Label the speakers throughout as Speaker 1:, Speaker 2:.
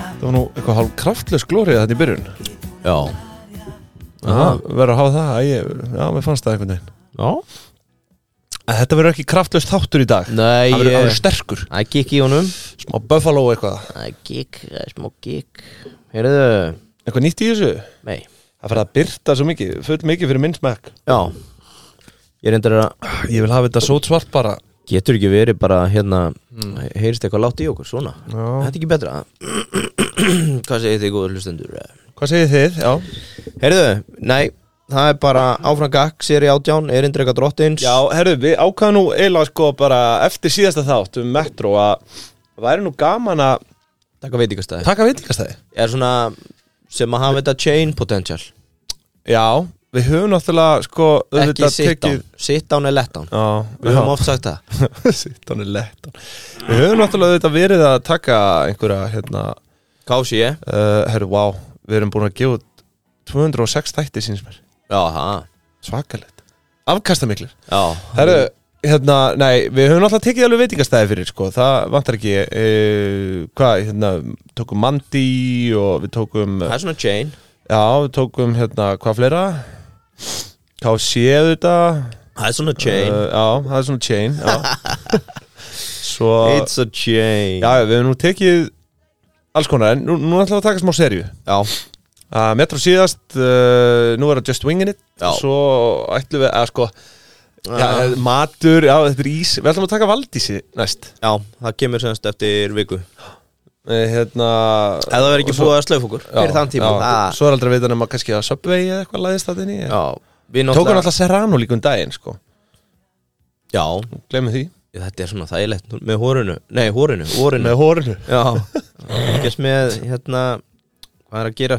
Speaker 1: eitthvað hálf kraftlös glórið þetta í byrjun
Speaker 2: Já,
Speaker 1: Það verður að hafa það að ég, já, mér fannst það einhvern veginn
Speaker 3: Já,
Speaker 1: En þetta verður ekki kraftlös þáttur í dag
Speaker 2: nei
Speaker 1: Það verður- það verður
Speaker 2: ég-
Speaker 1: sterkur,
Speaker 2: Það er gikk í honum
Speaker 1: smá buffalo eitthvað
Speaker 2: Það er gikk, það er smá gikk Heyrðu,
Speaker 1: Eitthvað nýtt í þessu?
Speaker 2: nei
Speaker 1: Það fyrir að byrta svo mikið, full mikið fyrir minn smekk
Speaker 2: Já, ég reyndar að
Speaker 1: Ég vil hafa þetta sót svart bara
Speaker 2: Getur ekki verið bara hérna Heyrist eitthvað látt í okkur, svona Þetta er ekki betra Hvað segir þið góður hlustendur?
Speaker 1: Hvað segir þið? Já,
Speaker 2: Heyrðu, nei Það er bara áfram gakk, sér í átján Erindri eitthvað drottins
Speaker 1: já herru, við ákvaðum nú eiginlega sko bara eftir síðasta þátt um metro að væri nú gaman að
Speaker 2: Takk að veitingastæði
Speaker 1: taka veitingastæði
Speaker 2: er svona sem að hafa þetta chain potential
Speaker 1: Já, við höfum náttúrulega sko
Speaker 2: ekki sit down, sit down er lett down
Speaker 1: Já,
Speaker 2: við höfum oft sagt það
Speaker 1: oft Sittan er lett Við höfum náttúrulega auðvitað verið að taka einhverja hérna
Speaker 2: kási ég
Speaker 1: uh, Herru, vá, við erum búin að gefa út 206 þætti síns mér
Speaker 2: já, ha,
Speaker 1: Svakalegt Afkastamiklir
Speaker 2: já
Speaker 1: Herru, hérna, nei, við höfum náttúrulega tekið alveg veitingastæði fyrir sko Það vantar ekki uh, Hvað, hérna, tókum Mandi og við tókum
Speaker 2: það er svona chain
Speaker 1: Já, við tókum hérna, hvað fleira? KC auðvitað
Speaker 2: það er svona chain
Speaker 1: Uh, já, það er svona chain já. Svo
Speaker 2: Uh, it's a chain
Speaker 1: Já, við höfum nú tekið alls konar En nú, nú ætlum við að taka smá serju
Speaker 2: já,
Speaker 1: uh, Metro síðast, uh, nú er það Just Wingin' It
Speaker 2: Já. Ah.
Speaker 1: Svo ætlum við að sko já,
Speaker 2: Já.
Speaker 1: Matur, já, þetta er ís Við ætlum að taka Valdísi næst
Speaker 2: já, það kemur semst eftir viku
Speaker 1: uh, Hérna
Speaker 2: ef það verður ekki
Speaker 1: svo-
Speaker 2: búið að slaufa okkur fyrir þann tíma Ah.
Speaker 1: já,
Speaker 2: það-
Speaker 1: Svo er aldrei að vita nema kannski að Subway eða eitthvað laðist að þinni
Speaker 2: já, við
Speaker 1: Tókum alltaf Serrano líka um daginn sko
Speaker 2: já,
Speaker 1: Glemum því
Speaker 2: þetta er svona þægilegt með hórinu nei, hórinu, hórinu
Speaker 1: hórinu
Speaker 2: já, fylgjast með hérna hvað er að gera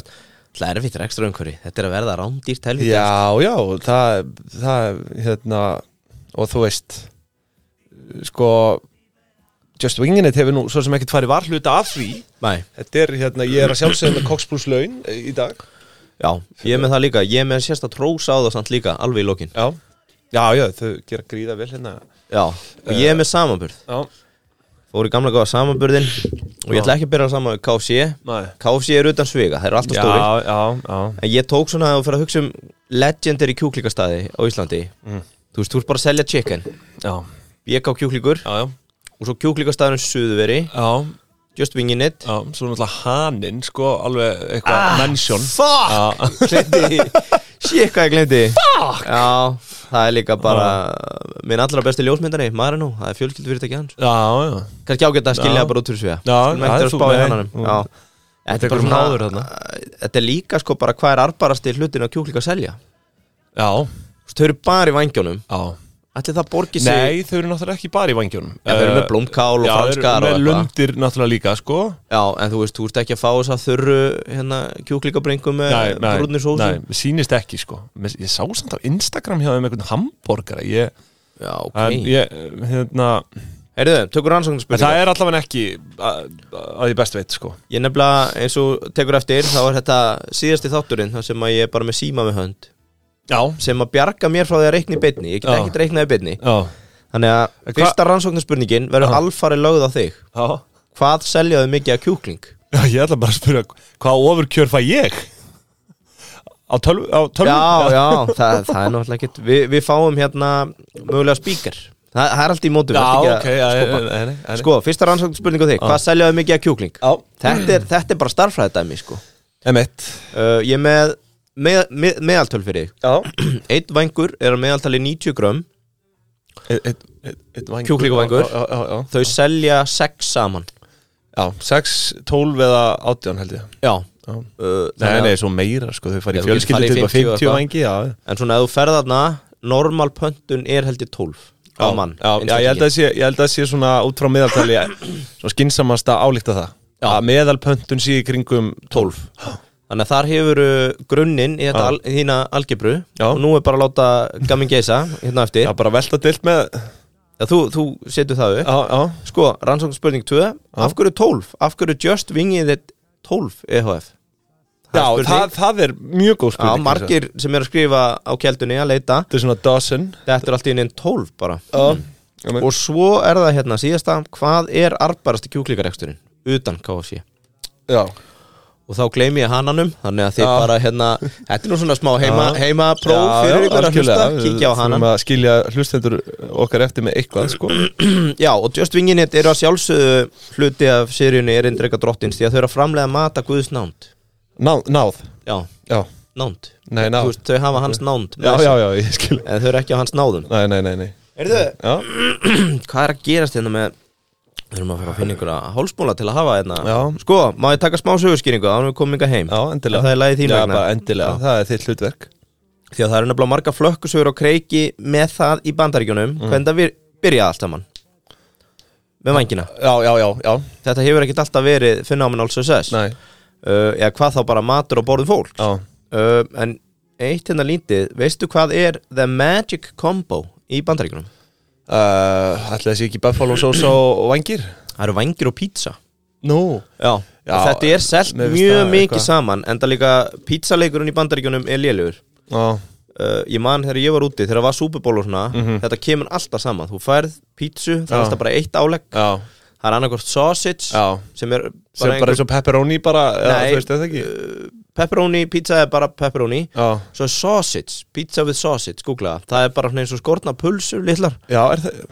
Speaker 2: það er eftir ekstra umhverfi þetta er að verða rándýrt helvítið
Speaker 1: Já, já, það, það hérna, og þú veist sko Just Wingin' It hefur nú svo sem ekkert farið varhluta af því
Speaker 2: Nei,
Speaker 1: Þetta er, hérna, ég er að sjálfsögum með Cox Plus laun eh, í dag
Speaker 2: já, ég er með það líka Ég er með sérst að trósa á það samt líka, alveg í lokin
Speaker 1: Já, já, já, þau gera gríða vel hérna
Speaker 2: Já, og ég er með samanburð
Speaker 1: Já,
Speaker 2: Fór í gamla góða samanburðin Og ég ætla ekki að byrja saman við KFC
Speaker 1: Nei.
Speaker 2: KFC er utan sviga, þeir eru alltaf
Speaker 1: já,
Speaker 2: stóri
Speaker 1: já, já
Speaker 2: En ég tók svona að fyrir að hugsa um Legendary kjúklíkastæði á Íslandi
Speaker 1: Mm.
Speaker 2: Þú veist, þú ert bara að selja chicken
Speaker 1: Já,
Speaker 2: BK kjúklíkur
Speaker 1: já, já,
Speaker 2: Og svo kjúklíkastæðurinn Suðveri
Speaker 1: já,
Speaker 2: Just wingin it
Speaker 1: já Svo náttúrulega haninn, sko, alveg eitthvað ah, mennsjón
Speaker 2: Fuck, glemdi Shit, hvað ég glemdi Fuck Já, það er líka bara Minn allra besti ljósmyndari, maður er nú Það er fjölskyldufyrirtæki hans
Speaker 1: Já, já
Speaker 2: kannski ágætt að skilja
Speaker 1: Já.
Speaker 2: bara út úr sviða
Speaker 1: Já,
Speaker 2: Skulum
Speaker 1: það
Speaker 2: ekki
Speaker 1: er
Speaker 2: að
Speaker 1: þú-
Speaker 2: spá í
Speaker 1: nei.
Speaker 2: hannanum
Speaker 1: Mm.
Speaker 2: Já. þetta er bara
Speaker 1: eitthvað
Speaker 2: svona
Speaker 1: náður þarna.
Speaker 2: þetta er líka sko bara hvað er arbarasti hlutin á kjúklinga að selja
Speaker 1: Já,
Speaker 2: Þú veist, þau eru bara í vangjónum
Speaker 1: já
Speaker 2: ætli það borgi sig
Speaker 1: Nei, þau eru náttúrulega ekki bara í Eh, vangjunum
Speaker 2: Já, þau eru með blómkál og
Speaker 1: Já,
Speaker 2: franskar og
Speaker 1: þau eru með
Speaker 2: eitthvað.
Speaker 1: lundir náttúrulega líka, sko
Speaker 2: já en þú veist þú ert ekki að fá þess að þurru hérna kjúklingabringu með brúnir sósi
Speaker 1: nei, sýnist ekki, sko Mér- Ég sá samt á Instagram hjá þeim einhvern hamborgara Ég,
Speaker 2: já ok
Speaker 1: en ég, hérna
Speaker 2: heyrðu
Speaker 1: En það
Speaker 2: tökur rannsóknarspurningar
Speaker 1: er allavega ekki að, að ég best veit, sko
Speaker 2: ég nefnilega eins og tekur eftir þá er þetta síðasti þátturinn þar sem að ég er bara með síma með hönd
Speaker 1: Já,
Speaker 2: sem að bjarga mér frá því að reikna í beinni ég get
Speaker 1: Já.
Speaker 2: ekkert reiknað í beinni
Speaker 1: já,
Speaker 2: Þannig að fyrsta rannsóknarspurningin verður alfari lögð á þig
Speaker 1: já
Speaker 2: Hvað seljaðu mikið af kjúkling?
Speaker 1: Ég ætla bara að spyrja, hvað ofurkjör fæ ég? Á tölvu, á tölvu
Speaker 2: Já, já, það, það er náttúrulega ekkert Vi, Við fáum hérna mögulega spíkar það, það er allt í
Speaker 1: Já,
Speaker 2: mótum vertu ekki
Speaker 1: ok,
Speaker 2: að
Speaker 1: já,
Speaker 2: skopa.
Speaker 1: nei, nei, nei.
Speaker 2: Sko, fyrsta rannsóknarspurning á þig Hvað seljaðu mikið af kjúkling?
Speaker 1: Já.
Speaker 2: Þetta er, þetta er bara starfræðdæmi sko.
Speaker 1: Emmett
Speaker 2: uh, Ég er með, með, með meðaltöl fyrir
Speaker 1: Já
Speaker 2: þig Eitt vangur er að meðaltali 90 grömm Kjúklingavængur.
Speaker 1: Kjúklingavængur Já, já, já
Speaker 2: Þau selja 6 saman
Speaker 1: Já, 6, 12 eða 18 held ég
Speaker 2: Já,
Speaker 1: Já.
Speaker 2: Uh,
Speaker 1: Nei,
Speaker 2: þannig
Speaker 1: nei,
Speaker 2: að-
Speaker 1: svo meira, sko, þau
Speaker 2: Já,
Speaker 1: farið
Speaker 2: þú getur
Speaker 1: fjölskyldu
Speaker 2: farið í
Speaker 1: til bara
Speaker 2: 50 og
Speaker 1: 50
Speaker 2: eitthvað.
Speaker 1: vengi, já
Speaker 2: En svona ef þú ferðarna Normal pöntun er held ég 12 á mann
Speaker 1: já, já, ég held að það sé, ég held að það sé svona út frá meðaltali eh, Svona skinsamasta álíkta það
Speaker 2: Já.
Speaker 1: Að meðalpöntun sé í kringum 12
Speaker 2: Þannig að þar hefur uh, grunninn í þetta
Speaker 1: Já.
Speaker 2: al, þína algebru
Speaker 1: Já.
Speaker 2: og nú er bara að láta gamin geisa hérna eftir.
Speaker 1: Já, bara velta deilt með Já,
Speaker 2: Já, þú, þú setur það upp.
Speaker 1: já,
Speaker 2: Sko, rannsóknspurning 2, af hverju 12? Af hverju just wingið þitt E 12 EHF?
Speaker 1: já
Speaker 2: er spurning.
Speaker 1: það, það er mjög góð
Speaker 2: Já,
Speaker 1: spurning
Speaker 2: margir sem er að skrifa á keldunni að leita,
Speaker 1: Þetta er svona dozen
Speaker 2: þetta er allt í einin 12 bara.
Speaker 1: Já,
Speaker 2: Og svo er það hérna síðasta, hvað er arbarasti kjúklíkareksturinn utan KFC?
Speaker 1: já.
Speaker 2: og þá gleymi ég hananum þannig að þið
Speaker 1: Já.
Speaker 2: bara hérna þetta er nú svona smá heima,
Speaker 1: Já.
Speaker 2: heima próf fyrir ykkur að hlusta, kíkja á hanan
Speaker 1: Þurfum að skilja hlustendur okkar eftir með eitthvað sko
Speaker 2: Já, og Just Vinginit eru að sjálfsögðu hluti af seríunni Erindreka drottins því að þau eru að framlega mata Guðs nánd
Speaker 1: Náð, náð,
Speaker 2: Já,
Speaker 1: já,
Speaker 2: nánd
Speaker 1: nei,
Speaker 2: Þú
Speaker 1: náð
Speaker 2: veist, þau hafa hans nánd með
Speaker 1: Já,
Speaker 2: sér.
Speaker 1: já, já, ég skil
Speaker 2: En þau eru ekki á hans náðum
Speaker 1: Nei, nei, nei, nei
Speaker 2: Erðu,
Speaker 1: Já,
Speaker 2: hvað er að gerast hérna með Við erum að fara að finna einhverja hálsbóla til að hafa hérna
Speaker 1: Já.
Speaker 2: Sko, má ég taka smá sögurskýringu þá erum við komin ykkar heim
Speaker 1: já endilega
Speaker 2: En það er lagið þín
Speaker 1: Já,
Speaker 2: vegna.
Speaker 1: bara endilega,
Speaker 2: Já.
Speaker 1: það er þitt hlutverk
Speaker 2: Því að það eru nefnilega marga flökkusögur og kreiki með það í bandaríkjunum
Speaker 1: Mm.
Speaker 2: Hvernig það vir- byrjaði allt saman Með vangina
Speaker 1: Já, já, já, já,
Speaker 2: Þetta hefur ekkert alltaf verið phenomenal success
Speaker 1: nei,
Speaker 2: uh, eða hvað þá bara matur og borðum fólk
Speaker 1: já
Speaker 2: uh, en eitt hérna lítið veistu hvað er The Magic Combo í bandaríkunum?
Speaker 1: Uh, ætli þessi ekki Buffalo sósa og og vængir?
Speaker 2: Það eru vangir og pizza
Speaker 1: Nú
Speaker 2: Já,
Speaker 1: Já,
Speaker 2: þetta er selt
Speaker 1: mér
Speaker 2: mjög
Speaker 1: finnst það
Speaker 2: mikið
Speaker 1: eitthvað.
Speaker 2: saman en það líka pizzaleikurinn í bandaríkunum er lélugur
Speaker 1: Já,
Speaker 2: uh, ég man þegar ég var úti, þegar það var súpuból og svona þetta kemur alltaf saman, þú færð pítsu,
Speaker 1: Mhm.
Speaker 2: það er
Speaker 1: Já.
Speaker 2: alltaf bara eitt álegg
Speaker 1: já,
Speaker 2: það er annarkvort sausage
Speaker 1: já
Speaker 2: sem er
Speaker 1: Sem bara
Speaker 2: einhver
Speaker 1: eins og pepperoni bara eða
Speaker 2: Nei.
Speaker 1: Þú veist þetta ekki?
Speaker 2: pepperoni, pizza er bara pepperoni
Speaker 1: Já,
Speaker 2: Svo er sausage, pizza with sausage, googla það Það er bara svona eins og skorna pulsur litlar
Speaker 1: já, er það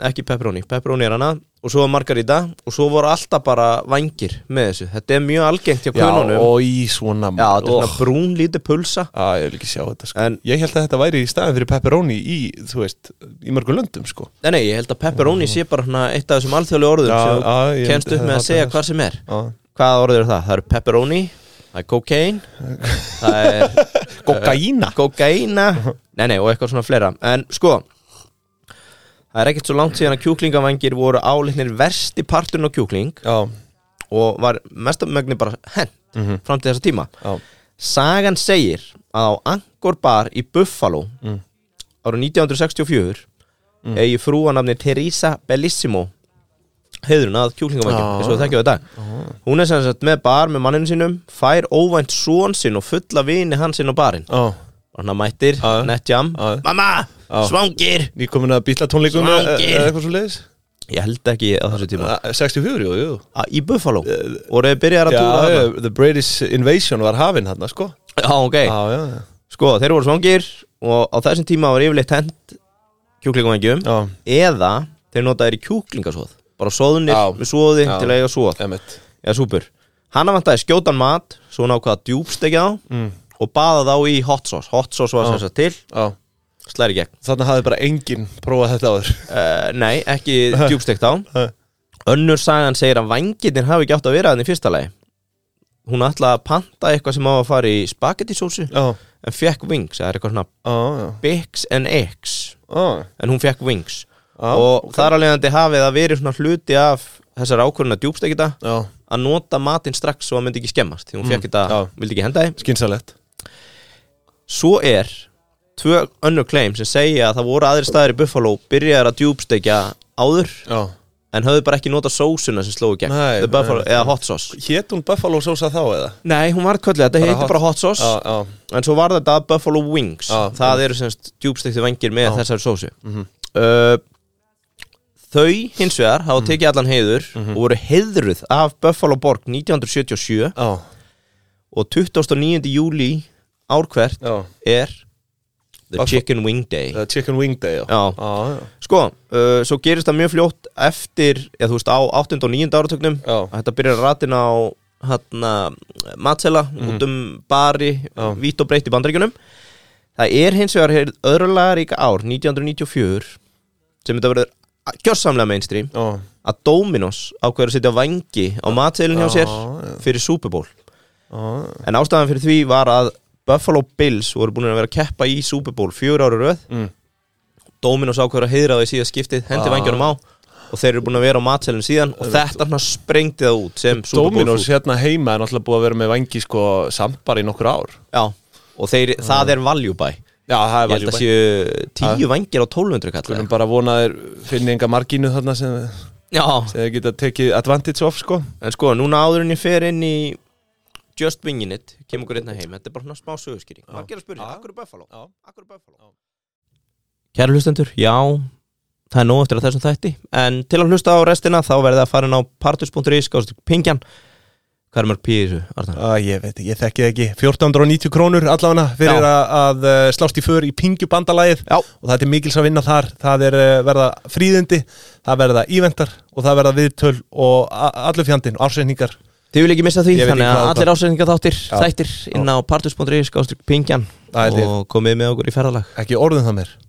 Speaker 2: Ekki pepperoni, pepperoni er hana Og svo er margarita Og svo voru alltaf bara vangir með þessu Þetta er mjög algengt hjá
Speaker 1: Já,
Speaker 2: kununum
Speaker 1: og í svona
Speaker 2: Já, þetta er
Speaker 1: ó.
Speaker 2: svona brún lítið pulsa
Speaker 1: Já, ég vil ekki sjá þetta sko
Speaker 2: En,
Speaker 1: Ég held að þetta væri í staðin fyrir pepperoni í, þú veist, í mörgum löndum sko
Speaker 2: nei, nei, ég held að pepperoni sé bara svona Eitt af þessum alþjóðlega orðum
Speaker 1: Já,
Speaker 2: Sem
Speaker 1: já,
Speaker 2: þú
Speaker 1: ég
Speaker 2: kemst
Speaker 1: myndi-
Speaker 2: upp með
Speaker 1: það
Speaker 2: að segja
Speaker 1: er-
Speaker 2: hvað sem er
Speaker 1: Já,
Speaker 2: Hvaða orður það? Það eru pepperoni Það er kokain Það er
Speaker 1: kokaína
Speaker 2: kokaina Nei, nei, og eitthvað svona fleira En sko Það er ekkert svo langt síðan að kjúklingavangir voru álitnir versti parturinn á kjúkling
Speaker 1: Já,
Speaker 2: og var mestamögni bara hent fram til þessa tíma
Speaker 1: já,
Speaker 2: Sagan segir að á Angkor bar í Buffalo árið 1964 eigi frúa nafni Teresa Bellissimo heiðrun að kjúklingavækjum
Speaker 1: Ah.
Speaker 2: eins og það þekkjum við þetta hún er sem sagt með bar með manninu sínum fær óvænt són sinn og fulla vini hans inn á barinn
Speaker 1: já
Speaker 2: og hann mættir,
Speaker 1: Já.
Speaker 2: nettjam
Speaker 1: Já.
Speaker 2: mamma,
Speaker 1: Já.
Speaker 2: svangir
Speaker 1: Nýkomin að býtla tónleikum eða
Speaker 2: Svangir.
Speaker 1: eitthvað svo leiðis
Speaker 2: ég held ekki á þessu tíma
Speaker 1: 64, jú, jú
Speaker 2: Að í Buffalo, voru þið byrjar að
Speaker 1: Já,
Speaker 2: túra
Speaker 1: já,
Speaker 2: þarna?
Speaker 1: The British Invasion var hafin hann, sko
Speaker 2: já, ok
Speaker 1: Já, já, já
Speaker 2: Sko, þeir voru svangir og á þessum tíma var yfirleitt hent kjúklingavængjum
Speaker 1: Já,
Speaker 2: eða þeir notaðir í kjúklingasóð bara sóðunir
Speaker 1: Já.
Speaker 2: með sóði
Speaker 1: Já.
Speaker 2: til að eiga sóð
Speaker 1: emitt
Speaker 2: eða súpur Hanna vantaði skjótan mat svo hún ákvaða djúbstekja á
Speaker 1: Mm.
Speaker 2: og baða þá í hot sauce hot sauce var
Speaker 1: Já.
Speaker 2: þess að til
Speaker 1: Já,
Speaker 2: slæri gegn
Speaker 1: þarna hafði bara enginn prófað þetta áður
Speaker 2: uh, Nei, ekki djúbstekt á
Speaker 1: Nei.
Speaker 2: Önnur sagan segir að vangirnir hafi ekki átt að vera þannig í fyrsta lagi Hún ætlaði að panta eitthvað sem á að fara í spagettisósu
Speaker 1: Já,
Speaker 2: en fekk wings, það er eitthvað svona
Speaker 1: já, já
Speaker 2: Bix and Eggs
Speaker 1: Já,
Speaker 2: en hún fekk wings
Speaker 1: já,
Speaker 2: og þar alvegandi hafið að verið svona hluti af þessar ákvörðuna djúbstekita
Speaker 1: já
Speaker 2: að nota matinn strax svo að myndi ekki skemmast því hún fekk þetta,
Speaker 1: já.
Speaker 2: vildi ekki henda því
Speaker 1: Skynsalett
Speaker 2: svo er tvö önnur claim sem segja að það voru aðri staðir í Buffalo byrjaðar að djúbstekja áður
Speaker 1: Já
Speaker 2: en höfðu bara ekki nota sósuna sem sló í gegn
Speaker 1: Nei,
Speaker 2: The Buffalo,
Speaker 1: nei.
Speaker 2: eða hot sauce
Speaker 1: Hét hún Buffalo Sosa þá eða?
Speaker 2: Nei, hún var kallið, þetta
Speaker 1: Bara
Speaker 2: heitir
Speaker 1: hot-
Speaker 2: bara hot sauce
Speaker 1: Já, já,
Speaker 2: en svo var þetta Buffalo Wings
Speaker 1: Já. Mhm.
Speaker 2: það eru semst djúbstekti vengir með þessari sósu uh, þau hins vegar
Speaker 1: Mhm.
Speaker 2: hafa tekið allan heiður og voru heiðruð af Buffalo Borg 1977
Speaker 1: já,
Speaker 2: og 29. júli ár hvert
Speaker 1: já
Speaker 2: er The
Speaker 1: Buffalo-
Speaker 2: Chicken Wing Day
Speaker 1: The Chicken Wing Day, já
Speaker 2: Já.
Speaker 1: Já, já,
Speaker 2: sko, uh, svo gerist það mjög fljótt eftir, eða þú veist, á 8. og 9. áratögnum
Speaker 1: já
Speaker 2: að þetta byrjar að ratin á hérna, matsela út um bari,
Speaker 1: Mhm. Já.
Speaker 2: vítt og breytt í bandaríkjunum það er hins vegar öðrulega ríka ár, 1994 sem þetta verður a- gjörsamlega mainstream,
Speaker 1: Já,
Speaker 2: að Dominos ákveður að setja vangi á matselin hjá
Speaker 1: Já,
Speaker 2: sér
Speaker 1: já.
Speaker 2: fyrir Super Bowl
Speaker 1: já,
Speaker 2: en ástæðan fyrir því var að Buffalo Bills voru búin að vera að keppa í Super Bowl fjör ára röð
Speaker 1: Mm.
Speaker 2: Dominos ákveður að heiðra það í síðan skiptið hendi
Speaker 1: Já.
Speaker 2: vangjunum á og þeir eru búin að vera á matselin síðan og þetta svona sprengdi það út sem Super Bowl
Speaker 1: Dominos
Speaker 2: food.
Speaker 1: hérna heima er náttúrulega búið að vera með vangi sko samt bara í nokkur ár
Speaker 2: Já, og þeir,
Speaker 1: Ah.
Speaker 2: það er value buy
Speaker 1: Já, það er
Speaker 2: Ég held að séu tíu vangir á 1200 kall
Speaker 1: Ah. Skulum bara vona að þeir finni enga margínu þarna sem
Speaker 2: Já,
Speaker 1: sem þeir geta tekið advantage of sko
Speaker 2: en sko, núna áður en ég fer inn í Just Wingin' It, kemur okkur einna heim Þetta er bara svona smá sögurskýring Margir að spyrja,
Speaker 1: Já. Ah.
Speaker 2: akkur er Buffalo?
Speaker 1: Já.
Speaker 2: Akkur er Buffalo? Kæra hlustendur, já Það er nóg eftir að þessum þætti En til að hlusta á restina þá verðið að fara inn á partus.is Gáðast pingjan Hvað er mörg pí í þessu, Arnar?
Speaker 1: Ah, ég veit ekki, ég þekki það ekki 1490 krónur allavega fyrir
Speaker 2: Já.
Speaker 1: að, að eh, slást í för í pingjubandalagið
Speaker 2: Já.
Speaker 1: og það er til mikils að vinna þar það er eh, verða fríðindi, það verða íventar og það verða viðtöl og a- allur fjandinn, ársreikningar
Speaker 2: Þið vil ekki missa því,
Speaker 1: Ég veit ekki
Speaker 2: þannig
Speaker 1: hvað
Speaker 2: að
Speaker 1: það-
Speaker 2: allir ásendinga þáttir,
Speaker 1: Já.
Speaker 2: þættir inn á partus.ri skástrík pingjan
Speaker 1: Það er til.
Speaker 2: og komið með okkur í ferðalag
Speaker 1: ekki orðum það mér